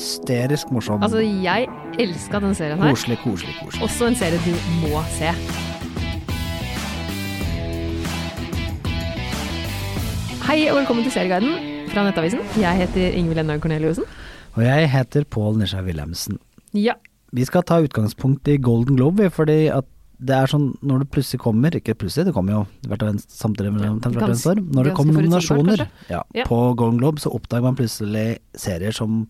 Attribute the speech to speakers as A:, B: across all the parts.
A: hysterisk morsom.
B: Altså, jeg elska den serien her.
A: koselig, koselig, koselig.
B: Også en serie du må se. Hei og velkommen til Serieguiden fra Nettavisen. Jeg heter Ingvild Enna Corneliussen.
A: Og jeg heter Pål Nisha Wilhelmsen.
B: Ja.
A: Vi skal ta utgangspunkt i Golden Globe, fordi at det er sånn når det plutselig kommer, ikke plutselig, det kommer jo hvert og en- samtidig mellom
B: Ja,
A: hvert og eneste år,
B: ganske-
A: når det
B: ganske
A: kommer
B: forutsigbart,
A: nominasjoner
B: kanskje.
A: ja,
B: Ja.
A: på Golden Globe, så oppdager man plutselig serier som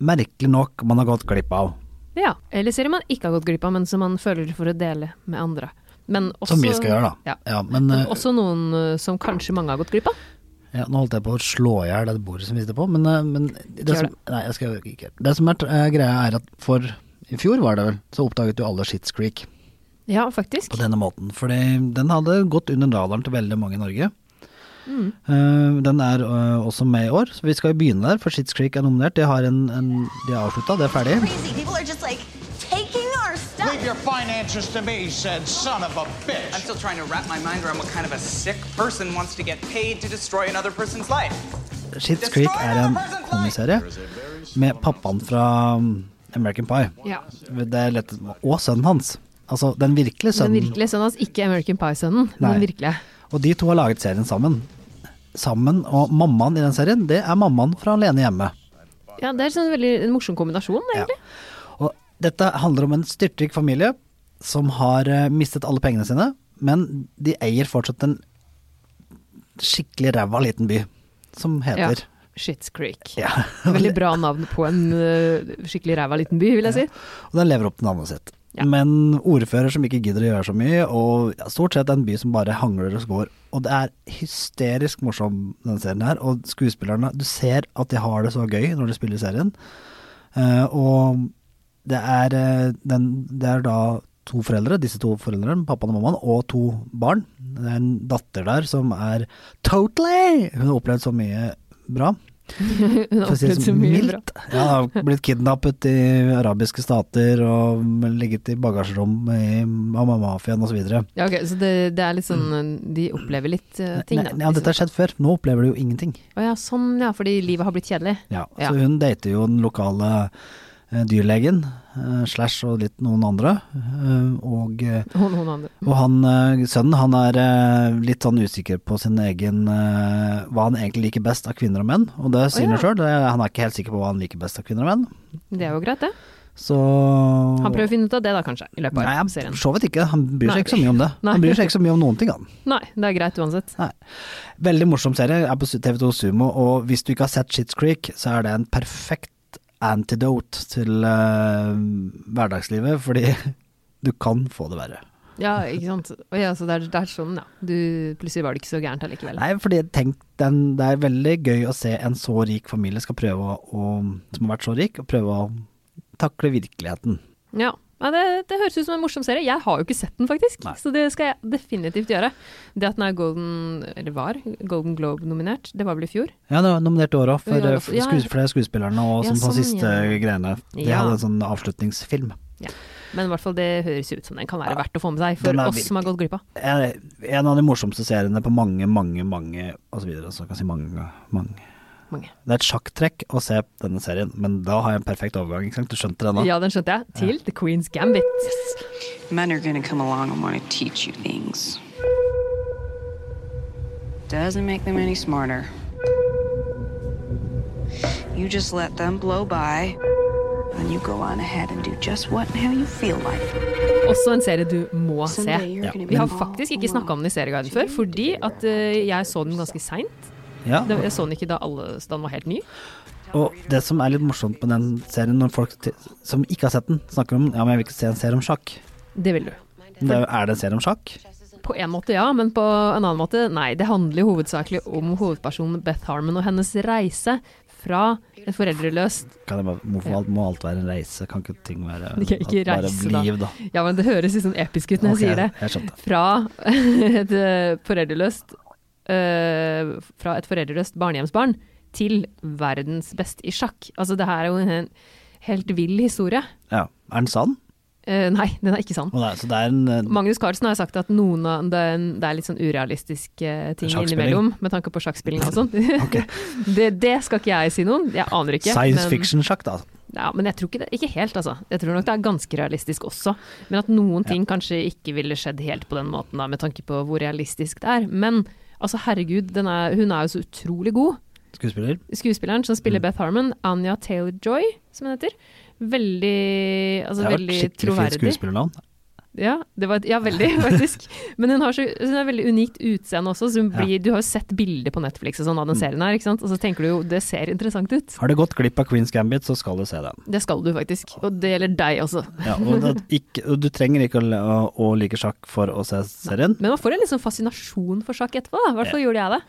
A: merkelig nok man har gått glipp av.
B: ja. Eller serier man ikke har gått glipp av, men som man føler for å dele med andre. Men også,
A: Som vi skal gjøre, da.
B: Ja.
A: Ja, men
B: Men
A: eh,
B: også noen eh, som kanskje mange har gått glipp av.
A: Ja, nå holdt jeg på å slå i hjel det bordet som vi sitter på, men, eh, men det,
B: gjør
A: som, nei, jeg skal ikke. det som er eh, greia er at for i fjor var det vel, så oppdaget jo alle Shits Creek
B: Ja, faktisk.
A: på denne måten. Fordi den hadde gått under radaren til veldig mange i Norge.
B: Mm.
A: Eh, den er eh, også med i år, så vi skal jo begynne der, for Shits Creek er nominert. De har en, en De er avslutta, det er ferdig.
C: crazy. People are just like taking our stuff.
D: Leave your finances to me, said son of a bitch.
E: I'm still trying to wrap my mind around what kind of a sick person wants to get paid to destroy another person's life.
A: Shits Creek er en komiserie med pappaen fra mm, American Pie.
B: Ja.
A: Det er lett, og sønnen hans. Altså den virkelige
B: Den
A: sønnen.
B: virkelige sønnen hans, ikke American Pie-sønnen.
A: Nei.
B: Den virkelige.
A: Og de to har laget serien sammen. Sammen, og mammaen i den serien, det er mammaen fra Alene hjemme.
B: Ja, det er sånn veldig en morsom kombinasjon,
A: Ja.
B: egentlig.
A: Og dette handler om en styrtrik familie som har eh, mistet alle pengene sine, men de eier fortsatt en skikkelig ræva liten by som heter
B: Shits Creek.
A: ja.
B: Veldig bra navn på en eh, skikkelig ræva liten by, vil jeg si.
A: Og den lever opp til navnet sitt.
B: Ja.
A: Men ordfører som ikke gidder å gjøre så mye, og ja, stort sett en by som bare hangler og går. Og det er hysterisk morsom, denne serien her. Og skuespillerne Du ser at de har det så gøy når de spiller serien. Eh, og det er, eh, den, det er da to foreldre, disse to foreldrene, pappaen og mammaen, og to barn. Det er en datter der som er totally Hun har opplevd så mye bra.
B: Hun har
A: For å si det
B: opplevd så
A: sånn,
B: mye bra.
A: mildt. Ja, han har blitt kidnappet i arabiske stater og ligget i bagasjerom i av mafiaen osv.
B: Ja, ok, Så det, det er litt sånn eh, De opplever litt eh, ting, da.
A: Mm. Ja, dette har skjedd før. Nå opplever du jo ingenting.
B: liksom. Å ja, sånn ja, fordi livet har blitt kjedelig.
A: Ja,
B: Ja.
A: Så hun dater jo den lokale eh, dyrlegen, eh, slash og litt noen andre. eh, Og, eh,
B: Og noen andre.
A: og han, eh, sønnen han er eh, litt sånn usikker på sin egen eh, Hva han egentlig liker best av kvinner og menn. Og det sier
B: ja.
A: han sjøl. Han er ikke helt sikker på hva han liker best av kvinner og menn.
B: Det er jo greit, det.
A: Så
B: Han prøver å finne ut av det, da, kanskje. I løpet
A: Nei,
B: av
A: han,
B: serien.
A: for så vidt ikke. Han bryr seg
B: Nei.
A: ikke så mye om det.
B: Nei.
A: Han bryr seg ikke så mye om noen ting, han.
B: Nei, det er greit uansett.
A: Nei. Veldig morsom serie, er på TV2 Sumo, og hvis du ikke har sett Shits Creek, så er det en perfekt antidote til eh, hverdagslivet, fordi du kan få det verre.
B: Ja, ikke sant. Å ja, så det er, det er sånn, ja. Du, plutselig var det ikke så gærent allikevel.
A: Nei, fordi tenk, den, det er veldig gøy å se en så rik familie skal prøve å, som har vært så rik, å prøve å takle virkeligheten.
B: Ja, ja det, det høres ut som en morsom serie. Jeg har jo ikke sett den, faktisk.
A: Nei.
B: Så det skal jeg definitivt gjøre. Det at den er Golden, eller var, Golden Globe-nominert, det var vel i fjor?
A: Ja, det var nominert i år òg, for
B: Ja,
A: eh,
B: ja,
A: f-
B: ja.
A: skues- flere skuespillerne og
B: Ja,
A: som på
B: sånn,
A: siste
B: ja.
A: greiene. De
B: Ja.
A: hadde en sånn avslutningsfilm.
B: Ja. Men i hvert fall det høres ut som den kan være verdt å få med seg for
A: Den er
B: oss som har gått glipp av.
A: er en av de morsomste seriene på mange, mange, mange og så videre. Så jeg kan si mange, mange.
B: Mange.
A: Det er et sjakktrekk å se denne serien, men da har jeg en perfekt overgang. Ikke sant? Du skjønte det nå?
B: Ja, den skjønte jeg. Til The Queen's Gambit.
F: Men are gonna come along and wanna teach you things. Doesn't make them any smarter. You just let them blow by, and you go on ahead and do just what and how you feel like.
B: Også en serie du må se.
F: Someday you're gonna be
B: Vi har
F: involved
B: faktisk ikke
F: in
B: snakka om den i Serieguiden før, fordi at eh, jeg så den ganske seint.
A: Ja.
B: Jeg så den ikke da alle, da den var helt ny.
A: Og det som er litt morsomt med den serien, når folk til- som ikke har sett den, snakker om ja, men jeg vil ikke se en serie om sjakk.
B: Det vil du.
A: Men det er, jo- er det en serie om sjakk?
B: På en måte ja, men på en annen måte nei. Det handler jo hovedsakelig om hovedpersonen Beth Harmon og hennes reise fra et foreldreløst
A: Kan jeg bare, hvorfor alt- må alt være en reise? Kan ikke ting være
B: Ikke- ikke
A: alt
B: reise,
A: bare
B: da.
A: liv, da?
B: Ja, men det høres litt sånn episk ut når
A: Ok,
B: jeg sier det.
A: Jeg skjønte.
B: Fra et eh, foreldreløst eh, Fra et foreldreløst barnehjemsbarn til verdens best i sjakk. Altså det her er jo en helt vill historie.
A: Ja. Er den sann?
B: Eh, nei, den er ikke sann.
A: Og det er, så det er en eh,
B: Magnus Carlsen har jo sagt at noen av den, det er litt sånn urealistiske ting
A: Sjakkspilling.
B: innimellom, med tanke på sjakkspilling og sånn. det, det skal ikke jeg si noen, jeg aner ikke.
A: science
B: men-
A: fiction-sjakk, da.
B: Ja, men jeg tror ikke det. Ikke helt, altså. Jeg tror nok det er ganske realistisk også. Men at noen ting kanskje ikke ville skjedd helt på den måten, da, med tanke på hvor realistisk det er. Men altså, herregud, den er, hun er jo så utrolig god.
A: Skuespiller.
B: Skuespilleren som
A: Mm.
B: spiller Beth Harmon, Anja Taylor-Joy, som hun heter. Veldig
A: Det
B: altså,
A: er jo et
B: veldig
A: skikkelig fint
B: troverdig.
A: skuespillernavn.
B: Ja, det var, et- ja, veldig, faktisk. Men hun har så hun har veldig unikt utseende også. Så hun blir, Du har jo sett bilder på Netflix og sånn av den
A: Mm.
B: serien her, ikke sant? og så tenker du jo det ser interessant ut.
A: Har du gått glipp av Queen's Gambit, så skal du se den.
B: Det skal du faktisk. Og det gjelder deg også.
A: Ja, og, det, ikke, og du trenger ikke å, le- å, å like sjakk for å se serien.
B: Men man får en liksom fascinasjon for sjakk etterpå, da. I hvert fall gjorde jeg det.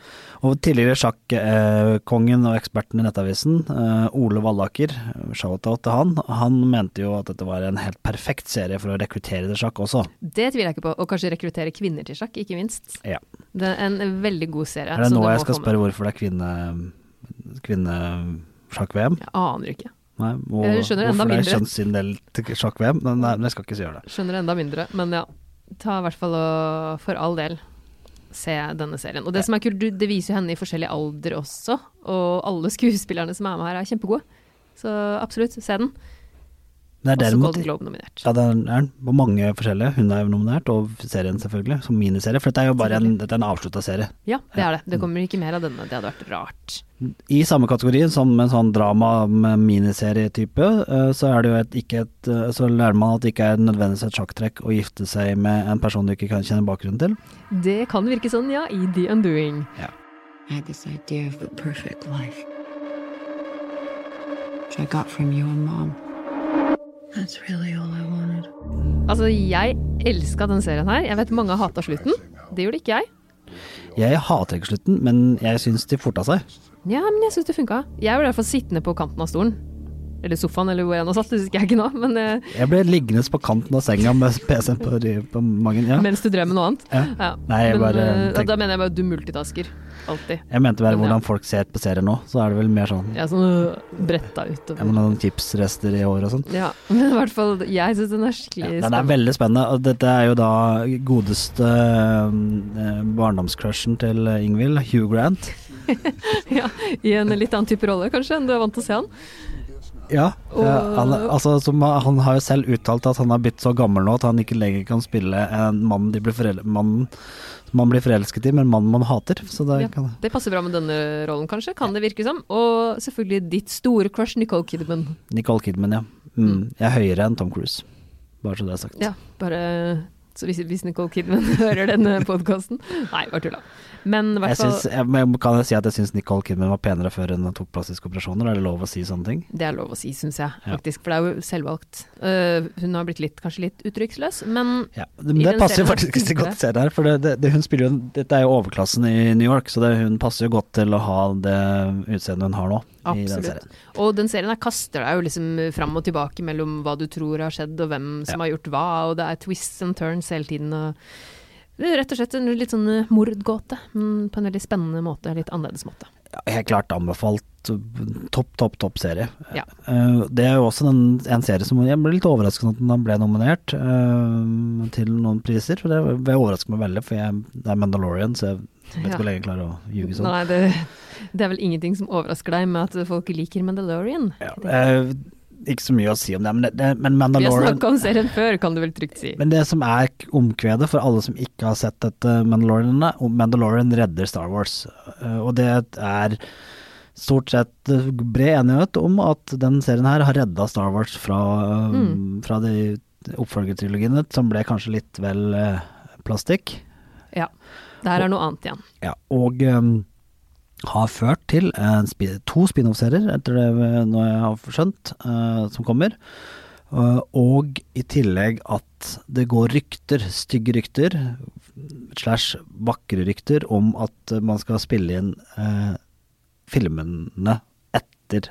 A: Og tidligere sjakkongen og eksperten i Nettavisen, eh, Ole Vallaker, shout-out til han, han mente jo at dette var en helt perfekt serie for å rekruttere til sjakk også.
B: Det tviler jeg ikke på. Og kanskje rekruttere kvinner til sjakk, ikke minst.
A: Ja.
B: Det er en veldig god serie.
A: Er det
B: så
A: nå
B: må
A: jeg skal
B: komme.
A: spørre hvorfor det er kvinne... Kvinnesjakk-VM?
B: Jeg aner ikke.
A: Nei, hvor,
B: Jeg skjønner enda
A: hvorfor det er
B: mindre.
A: kjønnsinndelt sjakk-VM? Men Nei, men jeg skal ikke si gjøre det.
B: Skjønner enda mindre. Men ja, ta i hvert fall og for all del se denne serien. Og det som er kult, du- det viser jo henne i forskjellig alder også. Og alle skuespillerne som er med her, er kjempegode. Så absolutt, se den.
A: Men det er
B: Også
A: derimot
B: Golden Globe-nominert.
A: ja, det er er den på mange forskjellige. Hun er jo nominert, og serien selvfølgelig, som miniserie. For dette er jo bare en, dette er en avslutta serie.
B: Ja, det er det. Det kommer ikke mer av denne. Det hadde vært rart.
A: I samme kategori som en sånn drama med miniserietype, eh, så er det jo et, ikke et eh, Så lærer man at det ikke er nødvendigvis et sjakktrekk å gifte seg med en person du ikke kan kjenne bakgrunnen til.
B: Det kan virke sånn, ja, i The Undoing.
G: I had this idea of the perfect life, which I got from you and mom. That's really all I wanted.
B: Altså, jeg elska den serien her. Jeg vet mange hata slutten. Det gjorde ikke jeg.
A: Jeg hater ikke slutten, men jeg syns de forta seg.
B: Ja, men jeg syns det funka. Jeg var derfor sittende på kanten av stolen. Eller sofaen, eller hvor jeg nå satt, det husker jeg ikke nå. Men eh,
A: Jeg ble liggende på kanten av senga med PC-en på, ry- på magen. Ja.
B: mens du drev med noe annet.
A: Ja. Nei, jeg
B: men,
A: bare
B: eh,
A: tenkte-
B: Da mener jeg bare du multitasker. Alltid.
A: Jeg mente bare
B: Men ja.
A: hvordan folk ser på serier nå, så er det vel mer sånn
B: Jeg er sånn øh, bretta
A: jeg må
B: utover.
A: ha noen tipsrester i håret og sånn.
B: Ja, men i hvert fall, jeg syns den er
A: Ja,
B: skikkelig
A: den er
B: spennende.
A: veldig spennende, og dette er jo da godeste eh, barndomscrushen til eh, Ingvild, Hugh Grant.
B: Ja, I en litt annen type rolle, kanskje, enn du er vant til å se han.
A: Ja,
B: Og-
A: eh, han, er- altså, som, han- han har jo selv uttalt at han har blitt så gammel nå at han ikke lenger kan spille en mann de blir forel mannen som man blir forelsket i, men mannen man hater. Så det
B: Ja,
A: kan
B: det passer bra med denne rollen, kanskje. Kan det virke som. Og selvfølgelig ditt store crush, Nicole Kidman.
A: Nicole Kidman, ja. Mm, jeg er høyere enn Tom Cruise, bare så det er sagt.
B: Ja, bare så hvis, hvis Nicole Kidman hører denne podkasten Nei, bare tulla. Men i
A: Jeg
B: hvert fall
A: syns- jeg, men kan jeg si at jeg syns Nicole Kidman var penere før hun tok plastiske operasjoner? Er det lov å si sånne ting?
B: Det er lov å si, syns jeg,
A: Ja.
B: faktisk. For det er jo selvvalgt. Øh, hun har blitt litt, kanskje litt uttrykksløs, men
A: Ja, men
B: I
A: det
B: den
A: passer jo
B: serien
A: faktisk
B: passer
A: ikke
B: ikke
A: godt til serien her, for det, det, det, hun spiller jo, en- dette er jo overklassen i New York, så det, hun passer jo godt til å ha det utseendet hun har nå. I den serien.
B: absolutt. og den serien her kaster deg jo liksom fram og tilbake mellom hva du tror har skjedd, og hvem som har gjort hva, og det er twists and turns hele tiden. og det er Rett og slett en litt sånn øh, mordgåte, men på en veldig spennende måte. Litt annerledes måte.
A: Ja, Helt klart anbefalt. Topp, topp, topp serie.
B: Ja.
A: Eh, Det er jo også den, en serie som jeg ble litt overrasket over at den ble nominert eh, til noen priser. For det det overrasker meg veldig, for jeg, det er Mandalorian, så jeg vet
B: Ja.
A: ikke hvor lenge jeg klarer å ljuge sånn.
B: Nei, det, det er vel ingenting som overrasker deg med at folk liker Mandalorian.
A: Ja, eh, ikke så mye å si om det, men, det, det, men
B: Vi har
A: Mandalorian
B: snakka om serien før, kan du vel trygt si.
A: Men det som er k- omkvedet for alle som ikke har sett dette Mandalorianet, og Mandalorian redder Star Wars. Eh, Og det er stort sett eh, bred enighet om at den serien her har redda Star Wars fra, eh, fra de oppfølgertrilogiene, som ble kanskje litt vel eh, plastikk.
B: Ja. Det her er noe annet igjen.
A: Ja, og ehm, har ført til en spi- to spin-off-serier, etter det vi- nå jeg har skjønt, eh, som kommer. Eh, og i tillegg at det går rykter, stygge rykter, slash vakre rykter, om at eh, man skal spille inn eh, filmene etter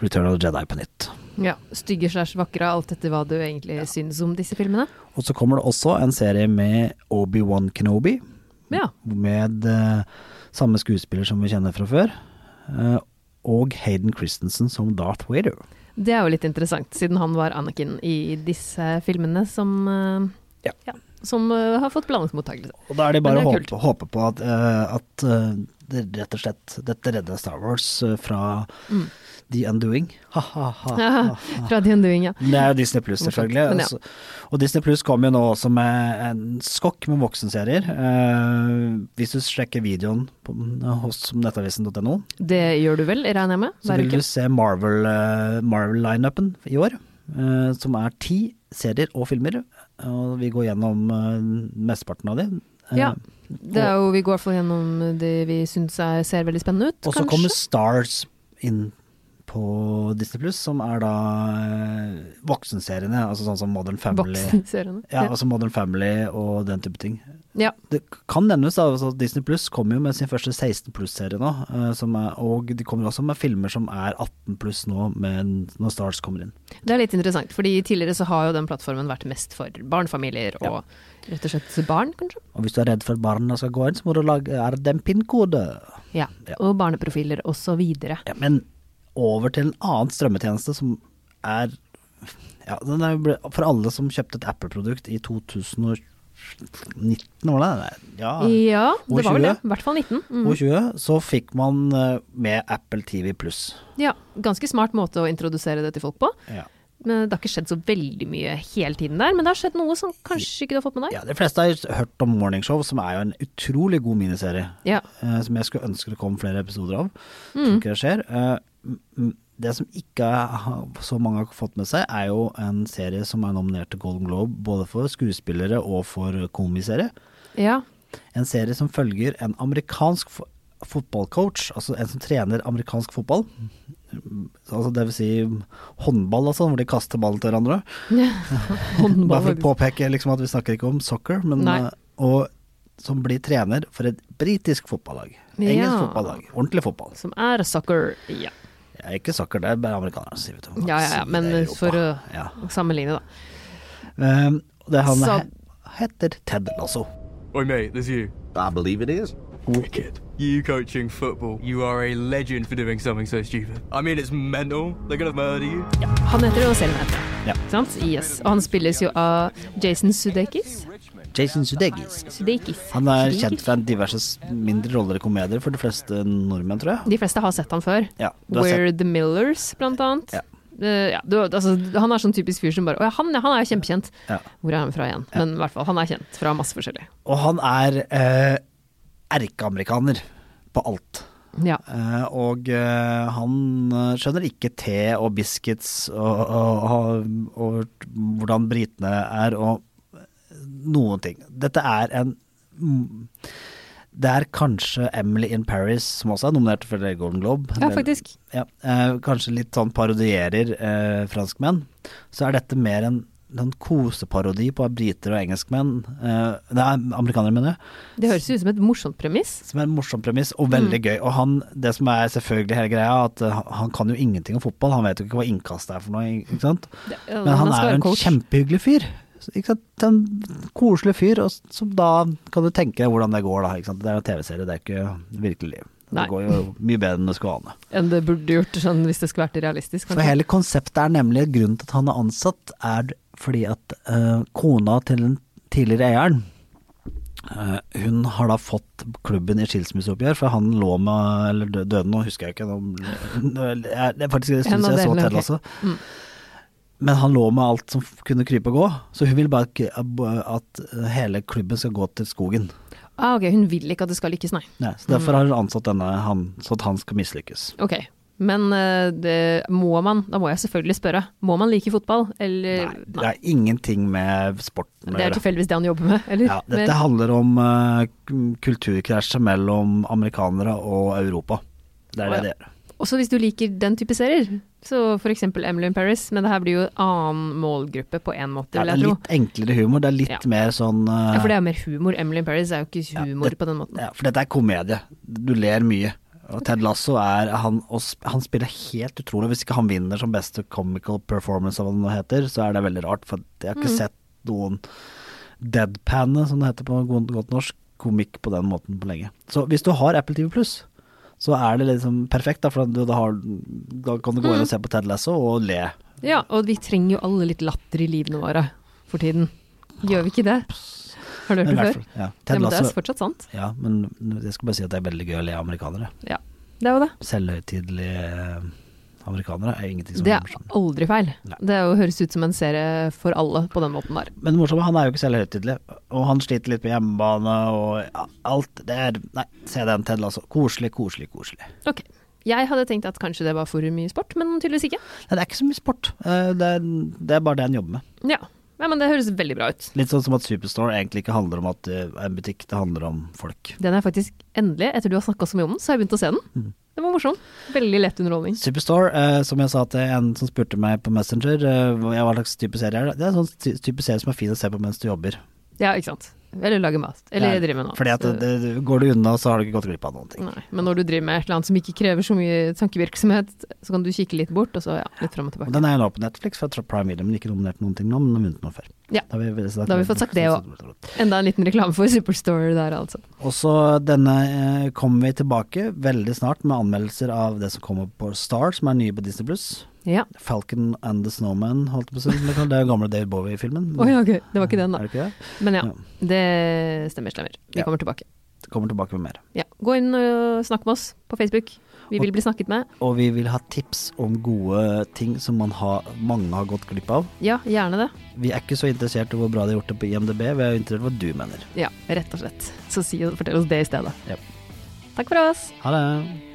A: Return of the Jedi på nytt.
B: Ja. Stygge slash vakre, alt etter hva du egentlig syns om disse filmene.
A: Og så kommer det også en serie med Obi-Wan Kenobi.
B: Ja.
A: med eh, samme skuespiller som vi kjenner fra før. Eh, og Hayden Christensen som Darth Vader.
B: Det er jo litt interessant, siden han var Anakin i disse filmene som eh,
A: Ja.
B: ja, som eh, har fått blandet mottakelse.
A: Og da er det
B: Men
A: bare å
B: det
A: håpe, håpe på at, eh, at eh, det rett og slett dette redder Star Wars eh, fra
B: Mm.
A: The Undoing. Ha, ha, ha, ha.
B: Fra The Undoing, ja.
A: Det er jo Disney Pluss,
B: Morsomt,
A: selvfølgelig.
B: men ja.
A: altså. Og Disney Pluss kom jo nå også med en skokk med voksenserier. Eh, hvis du sjekker videoen på, eh, hos nettavisen.no,
B: Det gjør du vel, regner jeg med?
A: så
B: Hver
A: vil du
B: uke?
A: se Marvel, eh, Marvel-lineupen i år, eh, som er ti serier og filmer. Og vi går gjennom eh, mesteparten av de. Eh,
B: Ja. Det er jo, vi går i hvert fall gjennom det vi syns er- ser veldig spennende ut,
A: Og så
B: kanskje.
A: kommer Stars inn på Disney Pluss, som er da eh, voksenseriene, altså sånn som Modern Family.
B: Voksenseriene.
A: Ja, altså Modern Family og den type ting.
B: Ja.
A: Det kan nevnes da, altså at Disney Pluss kommer jo med sin første 16 pluss-serie nå, eh, som er, og de kommer også med filmer som er 18 pluss nå, men når Stars kommer inn.
B: Det er litt interessant, fordi tidligere så har jo den plattformen vært mest for barnefamilier og rett og slett barn, kanskje.
A: Og hvis du er redd for at barna skal gå inn, så må du lage er det en pinnkode.
B: Ja,
A: Ja.
B: og barneprofiler og så videre.
A: Ja, men over til en annen strømmetjeneste som er ja, den er, jo ble- For alle som kjøpte et Apple-produkt i 2019, var det? Nei, Ja,
B: Ja,
A: År
B: det var vel det.
A: 20.
B: I hvert fall 19. Mm.
A: og 20, så fikk man eh, med Apple TV pluss.
B: Ja, ganske smart måte å introdusere det til folk på.
A: Ja.
B: Men det har ikke skjedd så veldig mye hele tiden der, men det har skjedd noe som kanskje ikke du har fått med deg.
A: Ja, de fleste har hørt om Morning Show, som er jo en utrolig god miniserie.
B: Ja. Mm.
A: eh, som jeg skulle ønske det kom flere episoder av. Tror ikke det skjer. Eh, m- m- det som ikke har- så mange har fått med seg, er jo en serie som er nominert til Golden Globe, både for skuespillere og for eh, komiserie.
B: Ja.
A: En serie som følger en amerikansk fo fotballcoach, altså en som trener amerikansk fotball. Mm, Altså det vil si håndball, altså, hvor de kaster ballen til hverandre. Bare
B: Håndball.
A: for å påpeke liksom, at vi snakker ikke om soccer, men
B: Nei.
A: eh, og, som blir trener for et britisk fotballag. Engelsk
B: Ja.
A: fotballag. Ordentlig fotball.
B: Som er soccer. Ja.
A: Jeg er ikke soccer, det er bare amerikanere som sier vet du.
B: ja, ja, ja. Men
A: Det er Europa.
B: for å
A: ja.
B: sammenligne, da.
A: um, Det er han
B: Så-
A: he- heter Ted Lasso.
H: Oi, mate, there's you.
I: I believe it is.
H: Wicked. You coaching football. You are a legend for doing something so stupid. I mean, it's mental. They're gonna murder you.
B: Han heter det, og selv heter det.
A: Ja.
B: Ikke Sant? Yes. Og han spilles jo av Jason Sudeikis.
A: Jason Sudeikis.
B: Sudeikis.
A: Han er
B: Sudeikis.
A: kjent fra diverse s- mindre roller i komedier for de fleste nordmenn, tror jeg.
B: De fleste har sett han før.
A: Ja, du har
B: Where the Millers, blant annet.
A: Ja.
B: Eh, ja, du, altså, han er sånn typisk fyr som bare Å ja, han, ja, han er jo kjempekjent.
A: Ja.
B: Hvor er han fra igjen? Men i hvert fall, han er kjent fra masse forskjellig.
A: Og han er eh, erkeamerikaner på alt.
B: Ja.
A: Eh, og eh, han eh, skjønner ikke te og biscuits og, og, og, og hvordan britene er og eh, noen ting. Dette er en mm, Det er kanskje Emily in Paris, som også er nominert for Golden Globe.
B: ja, faktisk.
A: Ja, eh, kanskje litt sånn parodierer eh, franskmenn. Så er dette mer en, en koseparodi på briter og engelskmenn. Eh, nei, amerikanere, mener jeg
B: Det høres jo ut som et morsomt premiss.
A: som er en morsom premiss, og veldig
B: Mm.
A: gøy. Og han, det som er selvfølgelig hele greia, er at uh, han kan jo ingenting om fotball, han vet jo ikke hva innkast er for noe, ikke sant.
B: Det- ja,
A: Men han
B: skal
A: er
B: være
A: jo en
B: coach.
A: kjempehyggelig fyr. Ikke sant? En koselig fyr, og s- som da kan du tenke deg hvordan det går, da. Ikke sant? Det er jo en TV-serie, det er ikke virkelig liv.
B: Nei.
A: Det går jo mye bedre enn det skulle ane.
B: Enn det burde gjort sånn, hvis det skulle vært realistisk.
A: For hele konseptet er nemlig grunnen til at han er ansatt, er fordi at eh, kona til den tidligere eieren eh, hun har da fått klubben i skilsmisseoppgjør, for han lå med Eller dø- døde nå, husker jeg ikke. Nå, det er faktisk en
B: En
A: stund
B: av
A: siden jeg så
B: delene,
A: Ted
B: ok. Mm.
A: Lasso. Men han lå med alt som f- kunne krype og gå, så hun vil bare ikke eh, at eh, hele klubben skal gå til skogen.
B: Ah, ok, hun vil ikke at det skal lykkes, nei.
A: Nei, så derfor har hun ansatt denne, han, så at han skal mislykkes.
B: Ok. Men eh, det, må man, da må jeg selvfølgelig spørre, må man like fotball, eller
A: Nei, det er ingenting med sporten å
B: Eh, Det er
A: gjøre.
B: tilfeldigvis det han jobber med, eller?
A: Ja,
B: Mer-
A: dette handler om eh, k- kulturkrasjet mellom amerikanere og Europa. Det er det
B: Å, ja.
A: det gjør.
B: Også hvis du liker den type serier, så for eksempel Emily in Paris, men det her blir jo en annen målgruppe på en måte,
A: Ja,
B: vil
A: det er
B: jeg tro.
A: litt enklere humor. Det er litt
B: Ja.
A: mer sånn eh,
B: Ja, for det er jo mer humor. Emily in Paris er jo ikke humor
A: det-
B: på den måten.
A: ja, for dette er komedie. Du ler mye. Og Ted Lasso er han, og sp- han spiller helt utrolig. Hvis ikke han vinner som beste comical performance, av hva det nå heter, så er det veldig rart. For jeg har ikke
B: Mm.
A: sett noen deadpanne, som det heter på god- godt norsk, komikk på den måten på lenge. Så hvis du har Apple TV Pluss, så er det liksom perfekt, da, for da, da, har, da kan du gå
B: Mm.
A: inn og se på Ted Lasso og le.
B: Ja, og vi trenger jo alle litt latter i livene våre for tiden. Gjør vi ikke det? Har du hørt
A: Men i
B: det
A: hvert
B: før?
A: fall, Ja,
B: Ja,
A: Ted
B: men det er
A: Lasso
B: fortsatt sant.
A: ja, men jeg skal bare si at det er veldig gøy å le av amerikanere.
B: Ja, det er jo det.
A: Selvhøytidelige eh, amerikanere er ingenting som
B: Det er aldri feil.
A: Nei.
B: Det er jo, høres ut som en serie for alle på den måten der.
A: Men det morsomme, han er jo ikke særlig høytidelig, og han sliter litt på hjemmebane og ja, alt. Det er Nei, se den Ted Lasso. Koselig, koselig, koselig.
B: Ok. Jeg hadde tenkt at kanskje det var for mye sport, men tydeligvis ikke.
A: Nei, det er ikke så mye sport. Eh, Det er, det er bare det han jobber med.
B: Ja. ja, men det høres veldig bra ut.
A: Litt sånn som at Superstore egentlig ikke handler om at det er en butikk, det handler om folk.
B: Den er faktisk endelig, etter du har snakka så mye om den, så har jeg begynt å se den.
A: Mm.
B: Den var morsom. Veldig lett underholdning.
A: Superstore, eh, som jeg sa til en som spurte meg på Messenger eh, hva hva slags type serie er det, det er en sånn ty- type serie som er fin å se på mens du jobber.
B: Ja, ikke sant. Eller lage mat. Eller
A: Det er-
B: drive med noe.
A: Fordi at
B: Så-
A: det, det, Går du unna, så har du ikke gått glipp av noen ting.
B: Nei, men når du driver med et eller annet som ikke krever så mye tankevirksomhet, så kan du kikke litt bort, og så ja, litt fram og
A: Og
B: tilbake.
A: Den er jo nå på Netflix fra Prime Video, men ikke nominert noen ting nå, men den har vunnet noe før.
B: Ja.
A: Da har vi,
B: Da har vi fått sagt det også. Enda en liten reklame for Superstore der, altså.
A: Og så denne eh, kommer vi tilbake veldig snart med anmeldelser av det som kommer på Star, som er nye på Disney Pluss.
B: Ja.
A: Falcon and the Snowman, holdt jeg på å si. Det er den gamle David Bowie-filmen.
B: Å ja, ok. Det var ikke den,
A: Mm. Er
B: da.
A: det ikke det?
B: Men ja,
A: Ja.
B: det stemmer, stemmer. Vi
A: Ja.
B: kommer tilbake.
A: Kommer tilbake med mer.
B: Ja. Gå inn og snakk med oss på Facebook. Vi vil bli snakket med.
A: Og vi vil ha tips om gode ting som man har, mange har gått glipp av.
B: Ja, gjerne det.
A: Vi er ikke så interessert i hvor bra de har gjort det på IMDb, vi er interessert i hva du mener.
B: Ja, rett og slett. Så si, fortell oss det i stedet.
A: Ja.
B: Takk for oss.
A: Ha det.